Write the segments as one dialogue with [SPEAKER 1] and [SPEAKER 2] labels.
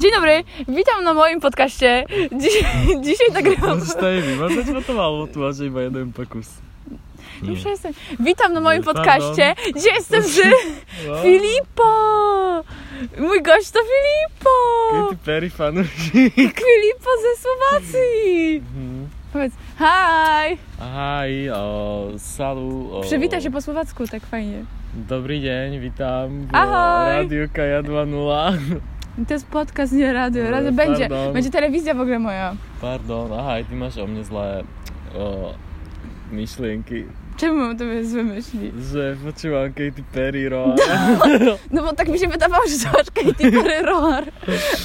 [SPEAKER 1] Dzień dobry, witam na moim podcaście. Dziś, dzisiaj
[SPEAKER 2] No,
[SPEAKER 1] nagrywam.
[SPEAKER 2] Zostaje mi, bardzo ci ratowało tłumaczeń, ma jeden pakus.
[SPEAKER 1] Nie przestań. Witam na moim
[SPEAKER 2] Pardon.
[SPEAKER 1] podcaście. Dzisiaj jestem z
[SPEAKER 2] Wow.
[SPEAKER 1] Filipo! Mój gość to Filipo!
[SPEAKER 2] Katy Perry fan.
[SPEAKER 1] Filipo ze Słowacji! Powiedz, hi!
[SPEAKER 2] Hi, Mhm. o, salu, o.
[SPEAKER 1] Przywita się po słowacku, tak fajnie.
[SPEAKER 2] Dobry dzień, witam. w
[SPEAKER 1] Ahoj.
[SPEAKER 2] Radio Kaja 2.0.
[SPEAKER 1] To jest podcast, nie radio.
[SPEAKER 2] No,
[SPEAKER 1] Radio będzie.
[SPEAKER 2] pardon.
[SPEAKER 1] Będzie telewizja w ogóle moja.
[SPEAKER 2] Pardon, aha, ty masz o mnie złe o, myślenki,
[SPEAKER 1] Czemu mam tobie złe myśli?
[SPEAKER 2] że poczułam Katy Perry roa.
[SPEAKER 1] No bo tak mi się wydawało, że zobacz Katy Perry Roar.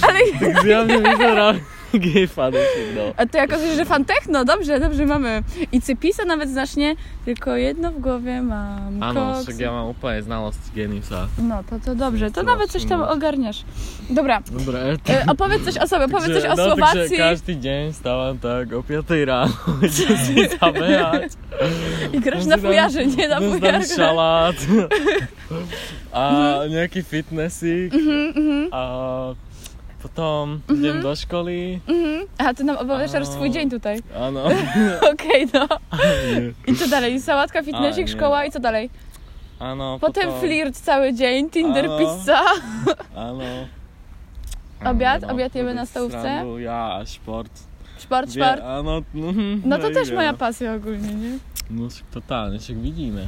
[SPEAKER 1] Ale
[SPEAKER 2] Tak zjawnie mi zaraz gej fany sięgnął.
[SPEAKER 1] A to jako, że fan techno, dobrze, dobrze mamy. I cypisa nawet znacznie, tylko jedno w głowie mam.
[SPEAKER 2] Ano,
[SPEAKER 1] koks.
[SPEAKER 2] że ja mam upalnie znalazł geniusa.
[SPEAKER 1] No to to dobrze, to
[SPEAKER 2] Jestem
[SPEAKER 1] nawet coś tam
[SPEAKER 2] odsunąć.
[SPEAKER 1] ogarniasz. Dobra,
[SPEAKER 2] Dobra, e, to-
[SPEAKER 1] e, opowiedz coś o sobie, opowiedz coś
[SPEAKER 2] Że-
[SPEAKER 1] o
[SPEAKER 2] no,
[SPEAKER 1] Słowacji.
[SPEAKER 2] Także każdy dzień stałam tak o 5 rano i się z nim zabijać.
[SPEAKER 1] I grasz na
[SPEAKER 2] Rozdam-
[SPEAKER 1] fujarze, nie na
[SPEAKER 2] rozdam
[SPEAKER 1] fujarze. Mhm.
[SPEAKER 2] szalát. A nejaký fitnessík. A potom idem do školy.
[SPEAKER 1] Mhm. A ty nam opowiadasz
[SPEAKER 2] A-
[SPEAKER 1] swój dzień tutaj.
[SPEAKER 2] Áno.
[SPEAKER 1] Okej, no. I co dalej? Sałatka, fitnessik,
[SPEAKER 2] nie.
[SPEAKER 1] szkoła i co dalej?
[SPEAKER 2] Áno.
[SPEAKER 1] Potem flirt cały dzień, Tinder,
[SPEAKER 2] A-
[SPEAKER 1] pizza.
[SPEAKER 2] Áno.
[SPEAKER 1] Obiad?
[SPEAKER 2] Áno,
[SPEAKER 1] Obiad jemy na
[SPEAKER 2] robiť
[SPEAKER 1] stołówce?
[SPEAKER 2] srandu, No, Ja a šport.
[SPEAKER 1] Szport,
[SPEAKER 2] Vie-
[SPEAKER 1] szport.
[SPEAKER 2] Áno. mhm,
[SPEAKER 1] No to też
[SPEAKER 2] ide,
[SPEAKER 1] moja
[SPEAKER 2] no.
[SPEAKER 1] pasja ogólnie, nie?
[SPEAKER 2] No však totálne, však vidíme.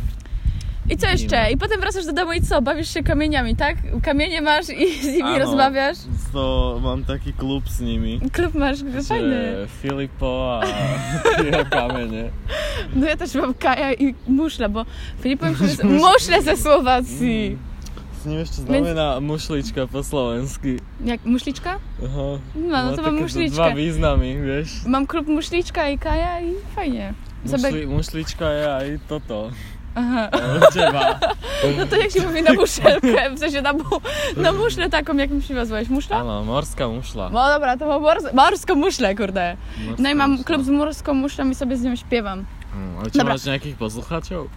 [SPEAKER 1] I co jeszcze? I potem wracasz do domu i co? Bawisz się kamieniami, tak? Kamienie masz i z nimi
[SPEAKER 2] Ano.
[SPEAKER 1] rozmawiasz?
[SPEAKER 2] To mám taký klub s nimi.
[SPEAKER 1] Klub masz, no fajny.
[SPEAKER 2] Že Filipo a jeho kamene.
[SPEAKER 1] No ja też mam kaja i muszle, bo Filip powiem, że jest muszle ze Słowacji.
[SPEAKER 2] S ním ešte znamená mušlička po slovensky.
[SPEAKER 1] Jak muszliczka?
[SPEAKER 2] Aha.
[SPEAKER 1] No, no
[SPEAKER 2] Má
[SPEAKER 1] to mam
[SPEAKER 2] také dva
[SPEAKER 1] muszliczkę.
[SPEAKER 2] významy, vieš.
[SPEAKER 1] Mam klub muszliczka i kaja i fajnie. Zabek-
[SPEAKER 2] Mušli, mušlička je aj toto.
[SPEAKER 1] Aha.
[SPEAKER 2] Od teba.
[SPEAKER 1] No to jak się mówi na muszelkę, w sensie na, bu- na muszlę taką, jak mi przywiozłeś? Muszla?
[SPEAKER 2] Áno, morská mušla.
[SPEAKER 1] No dobra, to mam mors- morską muszlę, kurde.
[SPEAKER 2] Morská
[SPEAKER 1] No i mam
[SPEAKER 2] mušla.
[SPEAKER 1] klub z morską muszlą i sobie z nią śpiewam.
[SPEAKER 2] Mm, A čo
[SPEAKER 1] Dobra.
[SPEAKER 2] máš nejakých poslucháčov?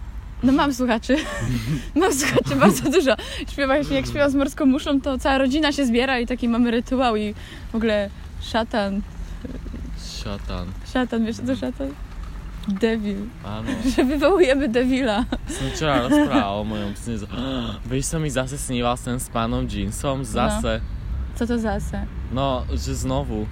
[SPEAKER 1] No mam słuchaczy. Mam słuchaczy bardzo dużo. Śpiewa, jak śpiewa z morską muszą, to cała rodzina się zbiera i taki mamy rytuał i w ogóle szatan,
[SPEAKER 2] Šatán.
[SPEAKER 1] szatan, wiesz co to szatan? Devil.
[SPEAKER 2] Áno.
[SPEAKER 1] Że wywołujemy devila.
[SPEAKER 2] Som včera rozprával o mojom sne. z- Vieš, sa mi zase sníval sen s pánom
[SPEAKER 1] No.
[SPEAKER 2] Jeansom. Zase.
[SPEAKER 1] Co to za se?
[SPEAKER 2] No, že znovu.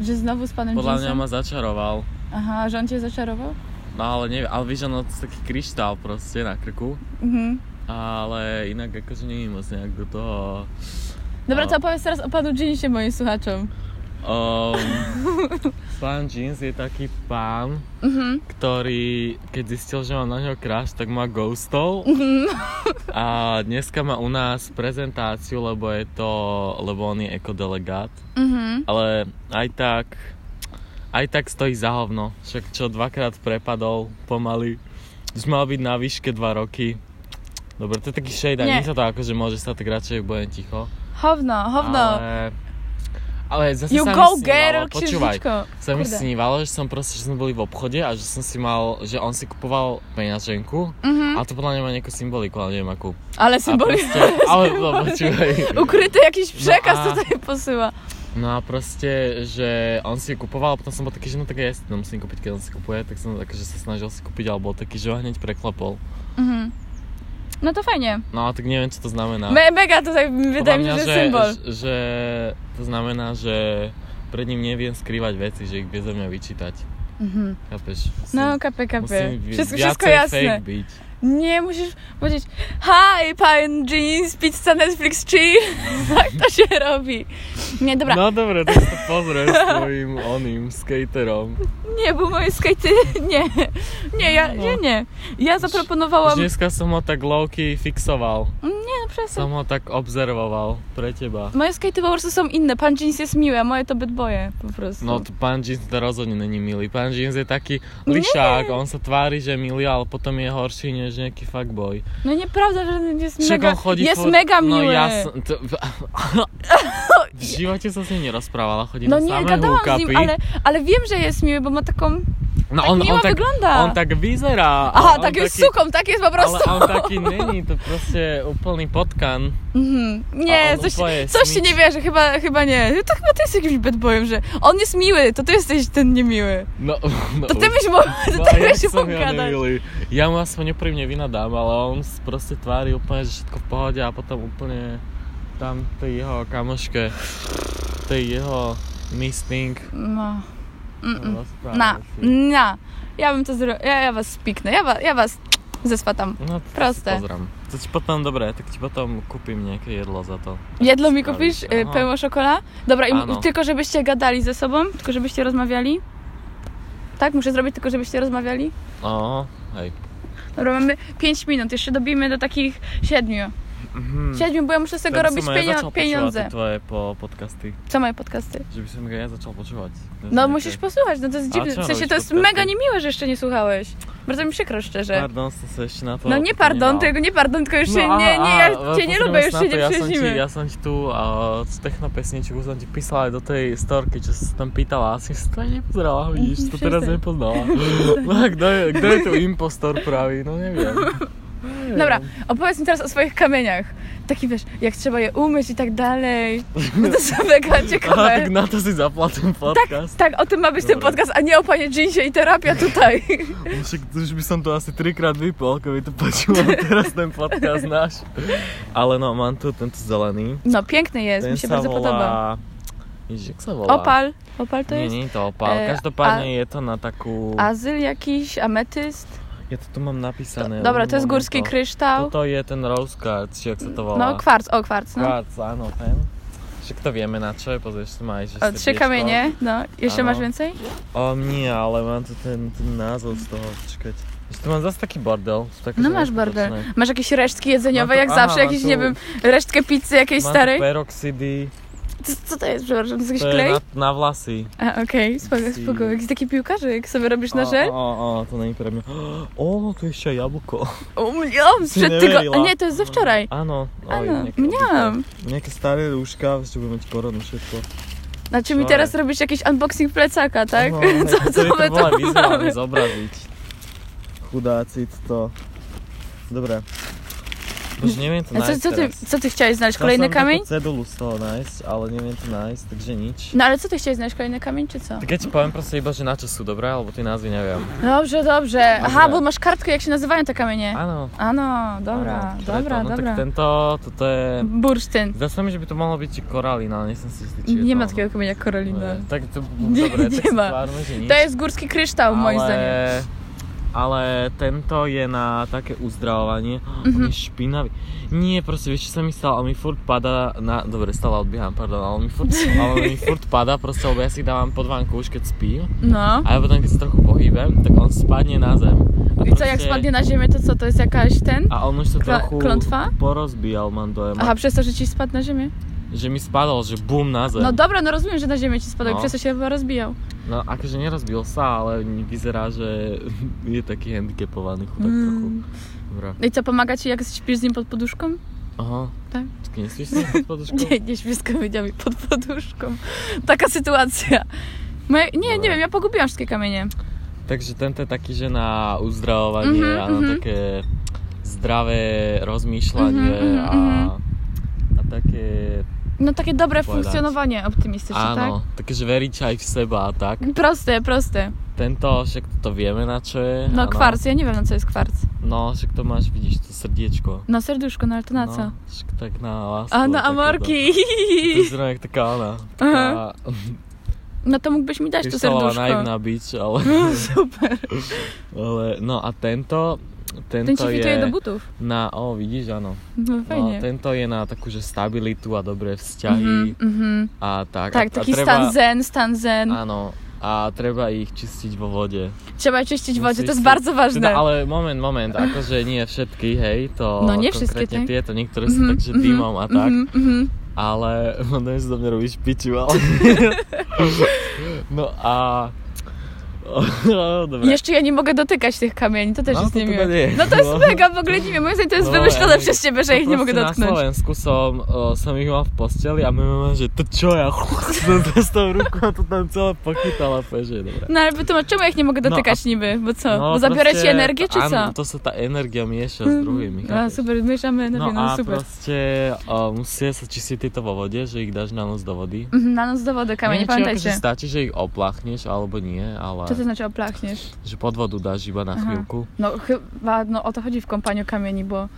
[SPEAKER 1] Że znowu z panem
[SPEAKER 2] Podľa mňa
[SPEAKER 1] Jeansem?
[SPEAKER 2] ma začaroval.
[SPEAKER 1] Aha, że on cię zaczarował?
[SPEAKER 2] No ale neviem, ale vieš, ono to taký kryštál proste na krku.
[SPEAKER 1] Mhm.
[SPEAKER 2] Ale inak akože nie je moc nejak do toho...
[SPEAKER 1] Dobra,
[SPEAKER 2] A.
[SPEAKER 1] to opowiedz teraz o panu Jeansie moim słuchaczom.
[SPEAKER 2] Um, pán Jeans je taký pán,
[SPEAKER 1] Mhm.
[SPEAKER 2] ktorý keď zistil, že mám na ňo crush, tak ma ghostol. A dneska má u nás prezentáciu, lebo je to, lebo on je ekodelegát.
[SPEAKER 1] Mhm.
[SPEAKER 2] Ale aj tak, aj tak stojí za hovno. Však čo dvakrát prepadol pomaly. Už mal byť na výške 2 roky. Dobre, to je taký shade,
[SPEAKER 1] Nie.
[SPEAKER 2] ani sa to akože môže stať, tak radšej budem ticho.
[SPEAKER 1] Howno, howno.
[SPEAKER 2] Ale, no, ale zase
[SPEAKER 1] You
[SPEAKER 2] sa
[SPEAKER 1] go
[SPEAKER 2] mi
[SPEAKER 1] girl,
[SPEAKER 2] snívalo, počúvaj,
[SPEAKER 1] księżniczko.
[SPEAKER 2] sa mi
[SPEAKER 1] Kurde.
[SPEAKER 2] snívalo, že som proste, že sme boli v obchode a že som si mal, že on si kupoval peňaženku,
[SPEAKER 1] Mhm.
[SPEAKER 2] ale to podľa mňa má nejakú symboliku, ale neviem akú. A
[SPEAKER 1] Ale symbolicznie.
[SPEAKER 2] proste, ale no, počúvaj.
[SPEAKER 1] Ukryty jakiś przekaz
[SPEAKER 2] a-
[SPEAKER 1] tutaj posyła.
[SPEAKER 2] No a proste, že on si ju kupoval a potom som bol taký, že no tak ja si to musím kúpiť, keď on si kupuje, tak som tak, že sa snažil si kúpiť, alebo bol taký, že ho hneď preklopol.
[SPEAKER 1] Mhm. No to fajnie.
[SPEAKER 2] No a tak neviem, čo to znamená.
[SPEAKER 1] Me, mega tutaj wydaje mi się,
[SPEAKER 2] Podľa
[SPEAKER 1] że
[SPEAKER 2] mňa,
[SPEAKER 1] symbol.
[SPEAKER 2] Že, že to znamená, že pred ním neviem skrývať veci, že ich vie zo mňa vyčítať.
[SPEAKER 1] Mhm.
[SPEAKER 2] Chápeš? Musím,
[SPEAKER 1] No, kapy, kapy.
[SPEAKER 2] musím vi-
[SPEAKER 1] Wszystko,
[SPEAKER 2] viacej
[SPEAKER 1] wszystko jasne.
[SPEAKER 2] fake byť.
[SPEAKER 1] Nie, musisz powiedzieć Hi, pan jeans, pizza, Netflix, chill. tak to się robi. Nie, dobra.
[SPEAKER 2] No dobre, tak to pozrieš s tvojim oným skaterom.
[SPEAKER 1] Nie, bo moje skejty... Nie. Nie, ja,
[SPEAKER 2] No.
[SPEAKER 1] ja nie. Ja zaproponowałam...
[SPEAKER 2] Už dneska som ho tak lowkey fixoval.
[SPEAKER 1] Nie, no przestań.
[SPEAKER 2] Som ho tak observoval pre teba.
[SPEAKER 1] Moje skejty po prostu są inne. Pan jeans jest miły, a moje to bedboje po prostu.
[SPEAKER 2] No to pán Jeans to rozhodne není milý. Pán Jeans je taký lišák, on sa tvári, že je milý, ale potom je horší než nejaký fuckboy.
[SPEAKER 1] No nieprawda, że jest
[SPEAKER 2] Však
[SPEAKER 1] mega...
[SPEAKER 2] on chodí...
[SPEAKER 1] Jest
[SPEAKER 2] po-
[SPEAKER 1] mega
[SPEAKER 2] No
[SPEAKER 1] miły.
[SPEAKER 2] ja som... To... V živote som s ním nerozprávala, chodí
[SPEAKER 1] No
[SPEAKER 2] na
[SPEAKER 1] nie,
[SPEAKER 2] samé
[SPEAKER 1] gadałam z
[SPEAKER 2] hookupy.
[SPEAKER 1] nim, ale, ale wiem, że jest miły, bo ma taką
[SPEAKER 2] No
[SPEAKER 1] miło wygląda.
[SPEAKER 2] on tak vyzerá.
[SPEAKER 1] Aha,
[SPEAKER 2] on
[SPEAKER 1] tak już
[SPEAKER 2] taký-
[SPEAKER 1] suką, tak jest po prostu.
[SPEAKER 2] Ale on taki není, to prostě úplný potkan.
[SPEAKER 1] Mhm. Nie,
[SPEAKER 2] on
[SPEAKER 1] coś,
[SPEAKER 2] upoje,
[SPEAKER 1] coś ci nie wierzy, chyba, chyba nie. No To chyba ty jesteś jakimś bad boyem, że on jest miły, to ty jesteś ten niemiły.
[SPEAKER 2] No, no
[SPEAKER 1] To ty
[SPEAKER 2] už-
[SPEAKER 1] byś mógł, to
[SPEAKER 2] a
[SPEAKER 1] ty
[SPEAKER 2] jak
[SPEAKER 1] byś
[SPEAKER 2] som
[SPEAKER 1] mógł
[SPEAKER 2] ja
[SPEAKER 1] gadać.
[SPEAKER 2] nemilý. Ja mu aspoň úprimne vynadám, ale on s- proste tvári úplne, že všetko v pohode a potom úplne tam tej jeho kamoške, tej jeho missing
[SPEAKER 1] No. Mm-mm.
[SPEAKER 2] rozpráva
[SPEAKER 1] Na,
[SPEAKER 2] si.
[SPEAKER 1] na. Ja bym to zrobił, ja, ja was spiknę, ja, wa, ja was zespatam.
[SPEAKER 2] No, to
[SPEAKER 1] Proste.
[SPEAKER 2] si pozrám. To ti potom, dobre, tak ti potom kúpim nejaké jedlo za to.
[SPEAKER 1] Jedlo mi
[SPEAKER 2] Sprawić.
[SPEAKER 1] kupisz, y,
[SPEAKER 2] Aha.
[SPEAKER 1] pełno szokola? Dobra, i m-
[SPEAKER 2] Ano.
[SPEAKER 1] tylko żebyście gadali ze sobą, tylko żebyście rozmawiali. Tak, muszę zrobić tylko, żebyście rozmawiali.
[SPEAKER 2] O, No, hej.
[SPEAKER 1] Dobra, mamy 5 minut, jeszcze dobijmy do takich 7. Mhm. 7, bo ja muszę z tego
[SPEAKER 2] Hm, Tak by
[SPEAKER 1] robiť
[SPEAKER 2] som aj
[SPEAKER 1] robić
[SPEAKER 2] začal
[SPEAKER 1] pienio-
[SPEAKER 2] počúvať
[SPEAKER 1] pieniądze.
[SPEAKER 2] tie tvoje po podcasty,
[SPEAKER 1] Co moje podcasty?
[SPEAKER 2] že by som ich aj ja začal počúvať. To je
[SPEAKER 1] No
[SPEAKER 2] nejaké-
[SPEAKER 1] musisz posłuchać, no to jest
[SPEAKER 2] A
[SPEAKER 1] dziwne.
[SPEAKER 2] co
[SPEAKER 1] W sensie
[SPEAKER 2] robisz
[SPEAKER 1] to jest
[SPEAKER 2] podcasty?
[SPEAKER 1] mega niemiłe, że jeszcze nie słuchałeś. Bardzo mi przykro szczerze.
[SPEAKER 2] Pardon, som sa ešte na to...
[SPEAKER 1] No nie pardon,
[SPEAKER 2] opomínal.
[SPEAKER 1] tego nie pardon, tylko już się
[SPEAKER 2] No,
[SPEAKER 1] nie,
[SPEAKER 2] aha,
[SPEAKER 1] nie, ja
[SPEAKER 2] aha,
[SPEAKER 1] cię nie
[SPEAKER 2] pozrieme
[SPEAKER 1] lubię,
[SPEAKER 2] sa
[SPEAKER 1] już
[SPEAKER 2] na
[SPEAKER 1] się
[SPEAKER 2] to,
[SPEAKER 1] nie
[SPEAKER 2] ja som, ti,
[SPEAKER 1] przyjaźnimy.
[SPEAKER 2] ja som ti tú uh, techno pesničku som ti písala aj do tej storky, čo si tam pýtala. Asi si to aj nepozerala, vidíš, to teraz
[SPEAKER 1] Přestaň.
[SPEAKER 2] nepoznala. No a kto je, kto je tu impostor pravý, no neviem. Neviem.
[SPEAKER 1] Dobra, opowiedz mi teraz o swoich kamieniach. Taki wiesz, jak trzeba je umyć i tak dalej. No to są mega
[SPEAKER 2] Aha,
[SPEAKER 1] ciekawe.
[SPEAKER 2] tak na to si zaplatím podcast.
[SPEAKER 1] Tak, o tym ma być ten
[SPEAKER 2] Dobra.
[SPEAKER 1] podcast, a nie o panie Jeansie i terapia tutaj.
[SPEAKER 2] No, Však to už by som to asi trikrát vypol, keby to počúval teraz ten podcast náš. Ale no, mám tu tento zelený.
[SPEAKER 1] No piękny jest,
[SPEAKER 2] Ten
[SPEAKER 1] mi się
[SPEAKER 2] sa
[SPEAKER 1] bardzo
[SPEAKER 2] volá...
[SPEAKER 1] podoba.
[SPEAKER 2] Ježiš, jak sa volá?
[SPEAKER 1] Opal, opal to
[SPEAKER 2] Nie,
[SPEAKER 1] jest?
[SPEAKER 2] nie je to opal.
[SPEAKER 1] e,
[SPEAKER 2] Každopádne je to na takú...
[SPEAKER 1] Azyl jakiś, ametyst?
[SPEAKER 2] Ja to tu mám napísané.
[SPEAKER 1] Dobra,
[SPEAKER 2] len
[SPEAKER 1] to jest górski
[SPEAKER 2] momento.
[SPEAKER 1] kryształ.
[SPEAKER 2] Toto je ten rose quartz, či jak sa to volá.
[SPEAKER 1] No kwarc, o kwarc, no.
[SPEAKER 2] Quartz, áno, ten. Však to vieme na čo je, pozrieš, tu má aj, že
[SPEAKER 1] O, trzy
[SPEAKER 2] srdiečko.
[SPEAKER 1] kamienie, no. Jeszcze
[SPEAKER 2] Ano.
[SPEAKER 1] masz więcej?
[SPEAKER 2] O, nie, ale mám tu ten, ten názov z toho, počkať. Ešte tu mám zase taký bordel. sú také
[SPEAKER 1] No masz
[SPEAKER 2] zaujímavé.
[SPEAKER 1] bordel. Masz jakieś resztki jedzeniowe,
[SPEAKER 2] Mam tu-
[SPEAKER 1] jak
[SPEAKER 2] No aha,
[SPEAKER 1] zawsze,
[SPEAKER 2] mam
[SPEAKER 1] jakieś,
[SPEAKER 2] tu-
[SPEAKER 1] nie wiem, resztkę pizzy jakiejś
[SPEAKER 2] Mám tu
[SPEAKER 1] starej.
[SPEAKER 2] peroxidy,
[SPEAKER 1] Co, co to jest, przepraszam, to jest
[SPEAKER 2] to
[SPEAKER 1] jakiś
[SPEAKER 2] je
[SPEAKER 1] klej?
[SPEAKER 2] na, na vlasy.
[SPEAKER 1] A, okej, spoko, spoko. Jakiś taki piłkarzyk sobie robisz na żel?
[SPEAKER 2] O, o, o, to není pre mňa. O, tu ešte aj jablko.
[SPEAKER 1] O, mniam,
[SPEAKER 2] Ty
[SPEAKER 1] sprzed
[SPEAKER 2] neverila.
[SPEAKER 1] tygodnia. A nie, to jest ze wczoraj.
[SPEAKER 2] Áno. oj,
[SPEAKER 1] Ano,
[SPEAKER 2] nejaké
[SPEAKER 1] mniam.
[SPEAKER 2] obyčajné. Nejaké staré rúška, ešte budeme mať koronu všetko.
[SPEAKER 1] Znaczy mi
[SPEAKER 2] Wczoraj.
[SPEAKER 1] teraz robisz jakiś unboxing plecaka, tak?
[SPEAKER 2] No,
[SPEAKER 1] Co, co
[SPEAKER 2] ktorý to
[SPEAKER 1] my
[SPEAKER 2] volá
[SPEAKER 1] tu
[SPEAKER 2] vizuálne
[SPEAKER 1] mamy?
[SPEAKER 2] zobraziť. Chudáci to. Dobre. Bože, neviem
[SPEAKER 1] A
[SPEAKER 2] to nájsť
[SPEAKER 1] co, co, ty,
[SPEAKER 2] teraz.
[SPEAKER 1] co ty chciałeś znaleźć?
[SPEAKER 2] Chcel
[SPEAKER 1] Kolejny
[SPEAKER 2] som
[SPEAKER 1] kamień?
[SPEAKER 2] takú cedulu z toho nájsť, ale neviem to nájsť, takže nič.
[SPEAKER 1] No ale co ty chciałeś znaleźć? Kolejny kamień czy co?
[SPEAKER 2] Tak ja ti poviem proste iba, že na čo sú, dobré? Alebo tie názvy neviem.
[SPEAKER 1] Dobrze, dobrze. Aha, bo masz kartkę, jak się nazywają te kamienie.
[SPEAKER 2] Áno.
[SPEAKER 1] Ano, dobra,
[SPEAKER 2] áno, čo je to?
[SPEAKER 1] dobra,
[SPEAKER 2] no,
[SPEAKER 1] dobra.
[SPEAKER 2] Tak tento, toto je...
[SPEAKER 1] Bursztyn.
[SPEAKER 2] Zdá sa mi, že by to mohlo byť či koralín, ale nie som si istý, či je
[SPEAKER 1] Nie
[SPEAKER 2] to
[SPEAKER 1] ma
[SPEAKER 2] ono.
[SPEAKER 1] takiego kamienia Karolina.
[SPEAKER 2] Nie, Tak to
[SPEAKER 1] Nie,
[SPEAKER 2] dobre,
[SPEAKER 1] nie
[SPEAKER 2] tak
[SPEAKER 1] ma.
[SPEAKER 2] stvárme, že nič.
[SPEAKER 1] To jest górski kryształ, moim zdaniem.
[SPEAKER 2] Ale tento je na také uzdravovanie.
[SPEAKER 1] Mhm.
[SPEAKER 2] On je špinavý. Nie, proste, vieš, čo sa mi stalo? On mi furt pada na... Dobre, stále odbieham, pardon, ale on mi furt, ale on mi furt pada, proste, lebo ja si dávam podvánku už keď spím.
[SPEAKER 1] No.
[SPEAKER 2] A ja potom, keď sa trochu pohybem, tak on spadne na zem. A
[SPEAKER 1] I co, jak spadnie na ziemię, to co? To jest jakaś ten?
[SPEAKER 2] A on už sa
[SPEAKER 1] Kla-
[SPEAKER 2] trochu
[SPEAKER 1] klontva?
[SPEAKER 2] porozbíjal, mám dojem.
[SPEAKER 1] Aha, przez to, że ci spadł na ziemię?
[SPEAKER 2] Že mi spadol, že bum na zem.
[SPEAKER 1] No dobra, no rozumiem, że na ziemię ci spadł i
[SPEAKER 2] No.
[SPEAKER 1] przez to się chyba rozbijał.
[SPEAKER 2] No akože nerozbil sa, ale vyzerá, že je taký handicapovaný chudák
[SPEAKER 1] Mm.
[SPEAKER 2] trochu. Dobre.
[SPEAKER 1] I co, pomaga ci, jak śpisz z nim pod poduszką?
[SPEAKER 2] Aha.
[SPEAKER 1] Tak.
[SPEAKER 2] Ty nesieš si pod poduškou?
[SPEAKER 1] Nie, nie śpię z kamieniami pod poduszką. Taka sytuacja. Moje, nie, nie
[SPEAKER 2] Dobra.
[SPEAKER 1] wiem, ja pogubiłam wszystkie kamienie.
[SPEAKER 2] Takže tento je taký, že na uzdravovanie
[SPEAKER 1] Mhm,
[SPEAKER 2] a na
[SPEAKER 1] mhm.
[SPEAKER 2] také zdravé rozmýšľanie
[SPEAKER 1] Mhm, mhm,
[SPEAKER 2] a, a také...
[SPEAKER 1] No takie dobre
[SPEAKER 2] Powiadać.
[SPEAKER 1] funkcjonowanie optymistyczne, tak? Mhm.
[SPEAKER 2] áno, také, že veriť aj v seba a tak.
[SPEAKER 1] Proste, proste.
[SPEAKER 2] Tento, však to vieme na čo je.
[SPEAKER 1] No
[SPEAKER 2] áno.
[SPEAKER 1] kwarc, ja nie wiem na co jest kwarc.
[SPEAKER 2] No, však to máš, vidíš, to srdiečko.
[SPEAKER 1] No serduszko, no ale to na co? no,
[SPEAKER 2] No, však tak na lásku.
[SPEAKER 1] A na
[SPEAKER 2] takéto.
[SPEAKER 1] amorki!
[SPEAKER 2] To vyzerá jak taká ona. Taká
[SPEAKER 1] No to mógłbyś mi dać to
[SPEAKER 2] kryštálová
[SPEAKER 1] serduszko.
[SPEAKER 2] naivná bič, ale,
[SPEAKER 1] No, super.
[SPEAKER 2] ale... No a tento...
[SPEAKER 1] Ten
[SPEAKER 2] Tento
[SPEAKER 1] ci
[SPEAKER 2] je
[SPEAKER 1] fituje do butów.
[SPEAKER 2] na... O, vidíš, áno.
[SPEAKER 1] No
[SPEAKER 2] No,
[SPEAKER 1] fajnie.
[SPEAKER 2] tento je na takú, že stabilitu a dobré
[SPEAKER 1] Mhm,
[SPEAKER 2] vzťahy
[SPEAKER 1] mhm.
[SPEAKER 2] a tak.
[SPEAKER 1] Tak,
[SPEAKER 2] a,
[SPEAKER 1] taki
[SPEAKER 2] a
[SPEAKER 1] stan zen, stan zen.
[SPEAKER 2] Áno. A treba ich čistiť vo vode.
[SPEAKER 1] Trzeba czyścić wodę, to
[SPEAKER 2] Musíš
[SPEAKER 1] jest
[SPEAKER 2] si-
[SPEAKER 1] bardzo
[SPEAKER 2] Teda,
[SPEAKER 1] ważne.
[SPEAKER 2] ale moment, moment, akože nie všetky, hej, to
[SPEAKER 1] No nie všetky,
[SPEAKER 2] konkrétne
[SPEAKER 1] tak.
[SPEAKER 2] tieto, niektoré sú tak, že
[SPEAKER 1] mhm,
[SPEAKER 2] dymom a tak.
[SPEAKER 1] Mhm, mhm.
[SPEAKER 2] Ale no neviem, že do mňa robíš piču, ale... no a... O, o, dobra.
[SPEAKER 1] Jeszcze ja nie mogę dotykać tych kamieni, to też
[SPEAKER 2] No,
[SPEAKER 1] jest
[SPEAKER 2] to
[SPEAKER 1] niemiłe.
[SPEAKER 2] tego nie jest,
[SPEAKER 1] No to jest
[SPEAKER 2] no.
[SPEAKER 1] mega, w ogóle nie wiem, moim zdaniem to jest
[SPEAKER 2] No,
[SPEAKER 1] wymyślone
[SPEAKER 2] ej,
[SPEAKER 1] przez ciebie, że ich nie mogę
[SPEAKER 2] Na
[SPEAKER 1] dotknąć.
[SPEAKER 2] Słowensku są, o, są ich mam w pościeli, a my mamy, że to cioja, z tą ruką, to tam cała pakita na fezie, dobra.
[SPEAKER 1] No ale wytłumacz, czemu ja ich nie mogę
[SPEAKER 2] No,
[SPEAKER 1] dotykać niby? Bo co? Bo zabiorę
[SPEAKER 2] proste,
[SPEAKER 1] ci energię, czy
[SPEAKER 2] a,
[SPEAKER 1] co?
[SPEAKER 2] no To se ta energija miesza z drugimi.
[SPEAKER 1] A,
[SPEAKER 2] chápeš?
[SPEAKER 1] No, super, mieszamy energię,
[SPEAKER 2] No,
[SPEAKER 1] no,
[SPEAKER 2] a
[SPEAKER 1] super.
[SPEAKER 2] prostě o, musí se čistit tyto vo vodě, že ich dáš na noc do vody.
[SPEAKER 1] Mhm, Na noc do wody kamienie,
[SPEAKER 2] Neviem, či akože
[SPEAKER 1] pamiętajcie.
[SPEAKER 2] stačí, že ich opláchneš, alebo nie, ale
[SPEAKER 1] Co to znaczy oplachniesz?
[SPEAKER 2] že pod vodu dáš iba
[SPEAKER 1] Aha.
[SPEAKER 2] na chvíľku.
[SPEAKER 1] No chyba no, o to chodzi w kąpaniu kamieni, bo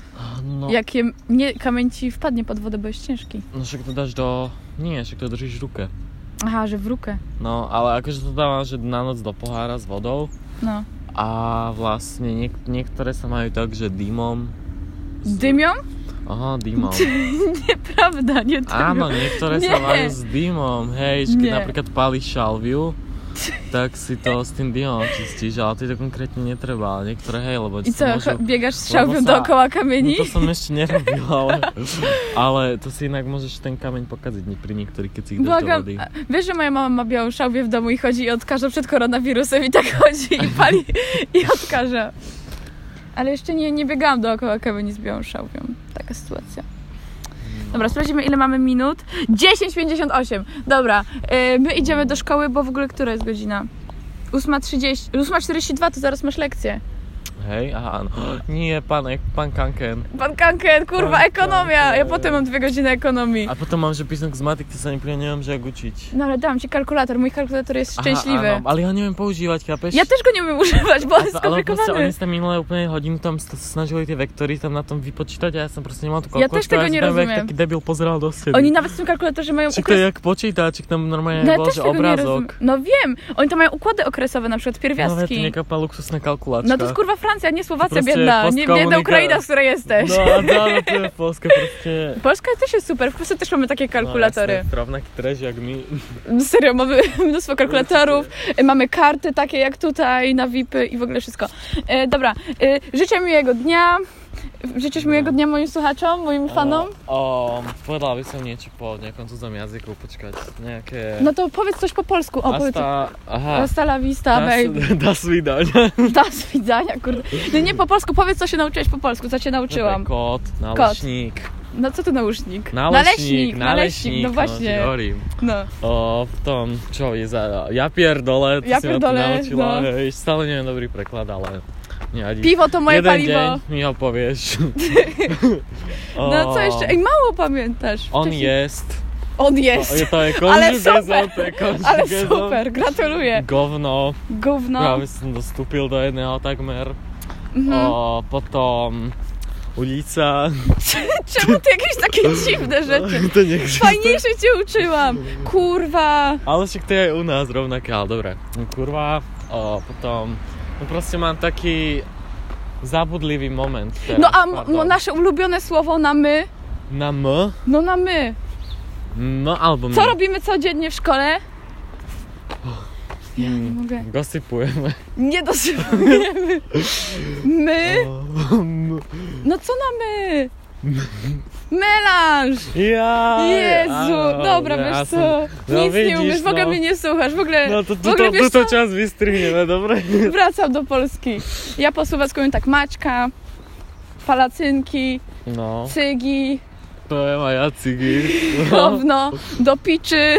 [SPEAKER 2] No,
[SPEAKER 1] jak je, nie, kamień ci wpadnie pod wodę, bo jest ciężki.
[SPEAKER 2] no však to dáš do... Nie, však to držíš v ruke.
[SPEAKER 1] Aha, že w rukę.
[SPEAKER 2] No, ale akože to dávam, že na noc do pohára s vodou
[SPEAKER 1] No.
[SPEAKER 2] a vlastne niek- niektoré sa majú tak, že dymom. s-
[SPEAKER 1] Dymią?
[SPEAKER 2] Aha, dymom.
[SPEAKER 1] Nieprawda, nie dymią.
[SPEAKER 2] Áno, niektoré
[SPEAKER 1] Nie.
[SPEAKER 2] sa majú s dymom, hej, že keď
[SPEAKER 1] Nie.
[SPEAKER 2] napríklad palíš šalviu, tak si to s tým dymom čistíš, ale ty to konkrétne netreba, ale niektoré hej, lebo
[SPEAKER 1] I
[SPEAKER 2] sa
[SPEAKER 1] co,
[SPEAKER 2] môžu...
[SPEAKER 1] cho- biegasz z
[SPEAKER 2] Bo- bo
[SPEAKER 1] szałwią
[SPEAKER 2] sa-
[SPEAKER 1] dookoła
[SPEAKER 2] No
[SPEAKER 1] kamieni?
[SPEAKER 2] to som ešte nerobil, ale, ale to si inak môžeš ten kameň pokaziť nie- pri niektorých, keď si ich dáš do
[SPEAKER 1] Błagam,
[SPEAKER 2] vody.
[SPEAKER 1] a wiesz, że moja mama ma białą szałwię w domu i chodzi i odkaża przed koronawirusem i tak chodzi i pali i odkaża. Ale jeszcze nie, nie biegałam dookoła kamieni z białą szałwią. Taka sytuacja. Dobra, sprawdzimy ile mamy minut. 10.58. Dobra, yy, my idziemy do szkoły, bo w ogóle która jest godzina? 8.30, 8.42 to zaraz masz lekcję.
[SPEAKER 2] Hej, aha, no. Nie, pán, pán Kanken.
[SPEAKER 1] Pan Kanken, kurwa,
[SPEAKER 2] Pan
[SPEAKER 1] ekonomia! Ja
[SPEAKER 2] Kanken.
[SPEAKER 1] potem mam dwie godziny ekonomii.
[SPEAKER 2] A potem mam, że piosenk z matik, to sobie nie wiem, że jak uczyć.
[SPEAKER 1] No ale dam ci kalkulator, mój kalkulator jest szczęśliwy.
[SPEAKER 2] Aha, áno, ale ja nie wiem používať, chápeš?
[SPEAKER 1] Ja też go nie umiem używać, bo on jest
[SPEAKER 2] A no, to- ale proste
[SPEAKER 1] skomplikowany.
[SPEAKER 2] oni sa minulé úplne hodinu tam s- snažili tie vektory tam na tom vypočítať a ja som proste nemal tú
[SPEAKER 1] Ja
[SPEAKER 2] kalkulačku.
[SPEAKER 1] też tego
[SPEAKER 2] som
[SPEAKER 1] nie
[SPEAKER 2] tam jak
[SPEAKER 1] rozumiem.
[SPEAKER 2] taký debil pozeral do steny.
[SPEAKER 1] Oni nawet w tym kalkulatorze mają
[SPEAKER 2] Či to je
[SPEAKER 1] okres-
[SPEAKER 2] jak počítač, tam normálne
[SPEAKER 1] No ja
[SPEAKER 2] bol,
[SPEAKER 1] też
[SPEAKER 2] že
[SPEAKER 1] tego nie rozumiem.
[SPEAKER 2] obrázok. No,
[SPEAKER 1] No wiem, oni to mają układy okresowe, na przykład
[SPEAKER 2] Nawet
[SPEAKER 1] pierwiastki.
[SPEAKER 2] nejaká luksusná kalkulačka.
[SPEAKER 1] No to jest kurwa Francja, nie Słowacja
[SPEAKER 2] Wreszcie
[SPEAKER 1] biedna, nie
[SPEAKER 2] postkomunika-
[SPEAKER 1] biedna Ukraina, z której jesteś.
[SPEAKER 2] No a dále to je Polska proste...
[SPEAKER 1] Polska też jest super, w Polsce też mamy takie
[SPEAKER 2] No,
[SPEAKER 1] kalkulatory.
[SPEAKER 2] jasne, rovnaký trež, jak my.
[SPEAKER 1] Serio, mamy mnóstwo kalkulatorów, mamy karty takie jak tutaj, na VIPy i w ogóle wszystko. E, dobra, e, życzę miłego dnia. Życzysz
[SPEAKER 2] No.
[SPEAKER 1] miłego dnia moim słuchaczom, moim fanom.
[SPEAKER 2] O, povedala by som niečo po nejakom cudzom jazyku, počkať. Nejaké...
[SPEAKER 1] No to powiedz coś po polsku. O, powiedz.
[SPEAKER 2] Hasta... Tak. Aha.
[SPEAKER 1] Hasta la vista, baby.
[SPEAKER 2] Das widania.
[SPEAKER 1] Da z widzenia, kurde. No nie po polsku, powiedz co się nauczyłeś po polsku, co cię nauczyłam.
[SPEAKER 2] Kot, naleśnik.
[SPEAKER 1] No co to nausznik?
[SPEAKER 2] Naleśnik,
[SPEAKER 1] naleśnik, no właśnie.
[SPEAKER 2] teorii.
[SPEAKER 1] No.
[SPEAKER 2] O, v tom, čo je za... Ja pierdole, to
[SPEAKER 1] Ja
[SPEAKER 2] si ma to
[SPEAKER 1] pierdole,
[SPEAKER 2] naučila.
[SPEAKER 1] no.
[SPEAKER 2] Hej, stále neviem dobrý preklad, ale nevadí.
[SPEAKER 1] Piwo to moje
[SPEAKER 2] Jeden
[SPEAKER 1] paliwo.
[SPEAKER 2] deň mi ho povieš. o,
[SPEAKER 1] No co jeszcze? Ej, mało pamiętasz.
[SPEAKER 2] On
[SPEAKER 1] Wcześniej-
[SPEAKER 2] jest.
[SPEAKER 1] On
[SPEAKER 2] O, je
[SPEAKER 1] jest.
[SPEAKER 2] to je
[SPEAKER 1] Ale
[SPEAKER 2] konžugezon,
[SPEAKER 1] super.
[SPEAKER 2] to je konžugezon.
[SPEAKER 1] Ale super, No. gratuluję.
[SPEAKER 2] Govno,
[SPEAKER 1] Gówno.
[SPEAKER 2] práve som dostúpil do jedného takmer.
[SPEAKER 1] Mhm.
[SPEAKER 2] O, potom ulica.
[SPEAKER 1] Czemu ty jakieś takie dziwne rzeczy?
[SPEAKER 2] to nech
[SPEAKER 1] Fajniejsze cię uczyłam. Kurwa.
[SPEAKER 2] Ale však to je aj u nás rovnaké, ale dobre. No, Kurva, o, potom... No proste mám taký zabudlivý moment. Teraz,
[SPEAKER 1] No a m-
[SPEAKER 2] pardon.
[SPEAKER 1] no, nasze ulubione słowo na my.
[SPEAKER 2] Na M?
[SPEAKER 1] No na my.
[SPEAKER 2] No alebo
[SPEAKER 1] Co
[SPEAKER 2] my.
[SPEAKER 1] robimy codziennie w szkole? Ja nie
[SPEAKER 2] Mm,
[SPEAKER 1] mogę.
[SPEAKER 2] Gossipujeme.
[SPEAKER 1] Nie dosypujemy. My? No co na my? Melanż!
[SPEAKER 2] Ja.
[SPEAKER 1] Jezu,
[SPEAKER 2] áno,
[SPEAKER 1] dobra,
[SPEAKER 2] ja
[SPEAKER 1] wiesz
[SPEAKER 2] som-
[SPEAKER 1] co?
[SPEAKER 2] no
[SPEAKER 1] Nic nie
[SPEAKER 2] vidíš,
[SPEAKER 1] umiesz, w ogóle
[SPEAKER 2] no.
[SPEAKER 1] mnie nie słuchasz, w ogóle,
[SPEAKER 2] No to
[SPEAKER 1] w ogóle
[SPEAKER 2] túto,
[SPEAKER 1] wiesz
[SPEAKER 2] túto
[SPEAKER 1] co?
[SPEAKER 2] časť vystrihneme, dobre?
[SPEAKER 1] Wracam do Polski. Ja po słowacku mówię tak maczka, palacynki,
[SPEAKER 2] No,
[SPEAKER 1] cygi,
[SPEAKER 2] to je moja cigy. No.
[SPEAKER 1] gówno, do piczy.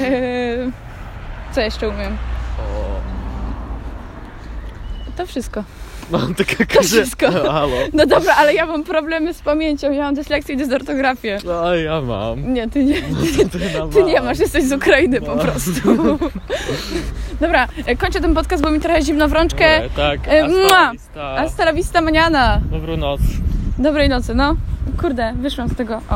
[SPEAKER 1] Yy, Co jeszcze umiem? To wszystko.
[SPEAKER 2] Mám tak
[SPEAKER 1] To
[SPEAKER 2] akože...
[SPEAKER 1] všetko.
[SPEAKER 2] Halo.
[SPEAKER 1] No dobra, ale ja mam problemy z pamięcią, ja mam dyslekcję i dysortografię.
[SPEAKER 2] No a ja mám.
[SPEAKER 1] Nie, ty nie.
[SPEAKER 2] To je na
[SPEAKER 1] Ty nie
[SPEAKER 2] málo.
[SPEAKER 1] masz, jesteś z Ukrainy po
[SPEAKER 2] No.
[SPEAKER 1] prostu. Dobra, e, kończę ten podcast, bo mi trochę zimno w rączkę.
[SPEAKER 2] Dobre, tak,
[SPEAKER 1] E, mua.
[SPEAKER 2] hasta, vista.
[SPEAKER 1] Hasta la vista mañana.
[SPEAKER 2] Dobrú noc.
[SPEAKER 1] Dobrej nocy, no. Kurde, wyszłam z tego. O.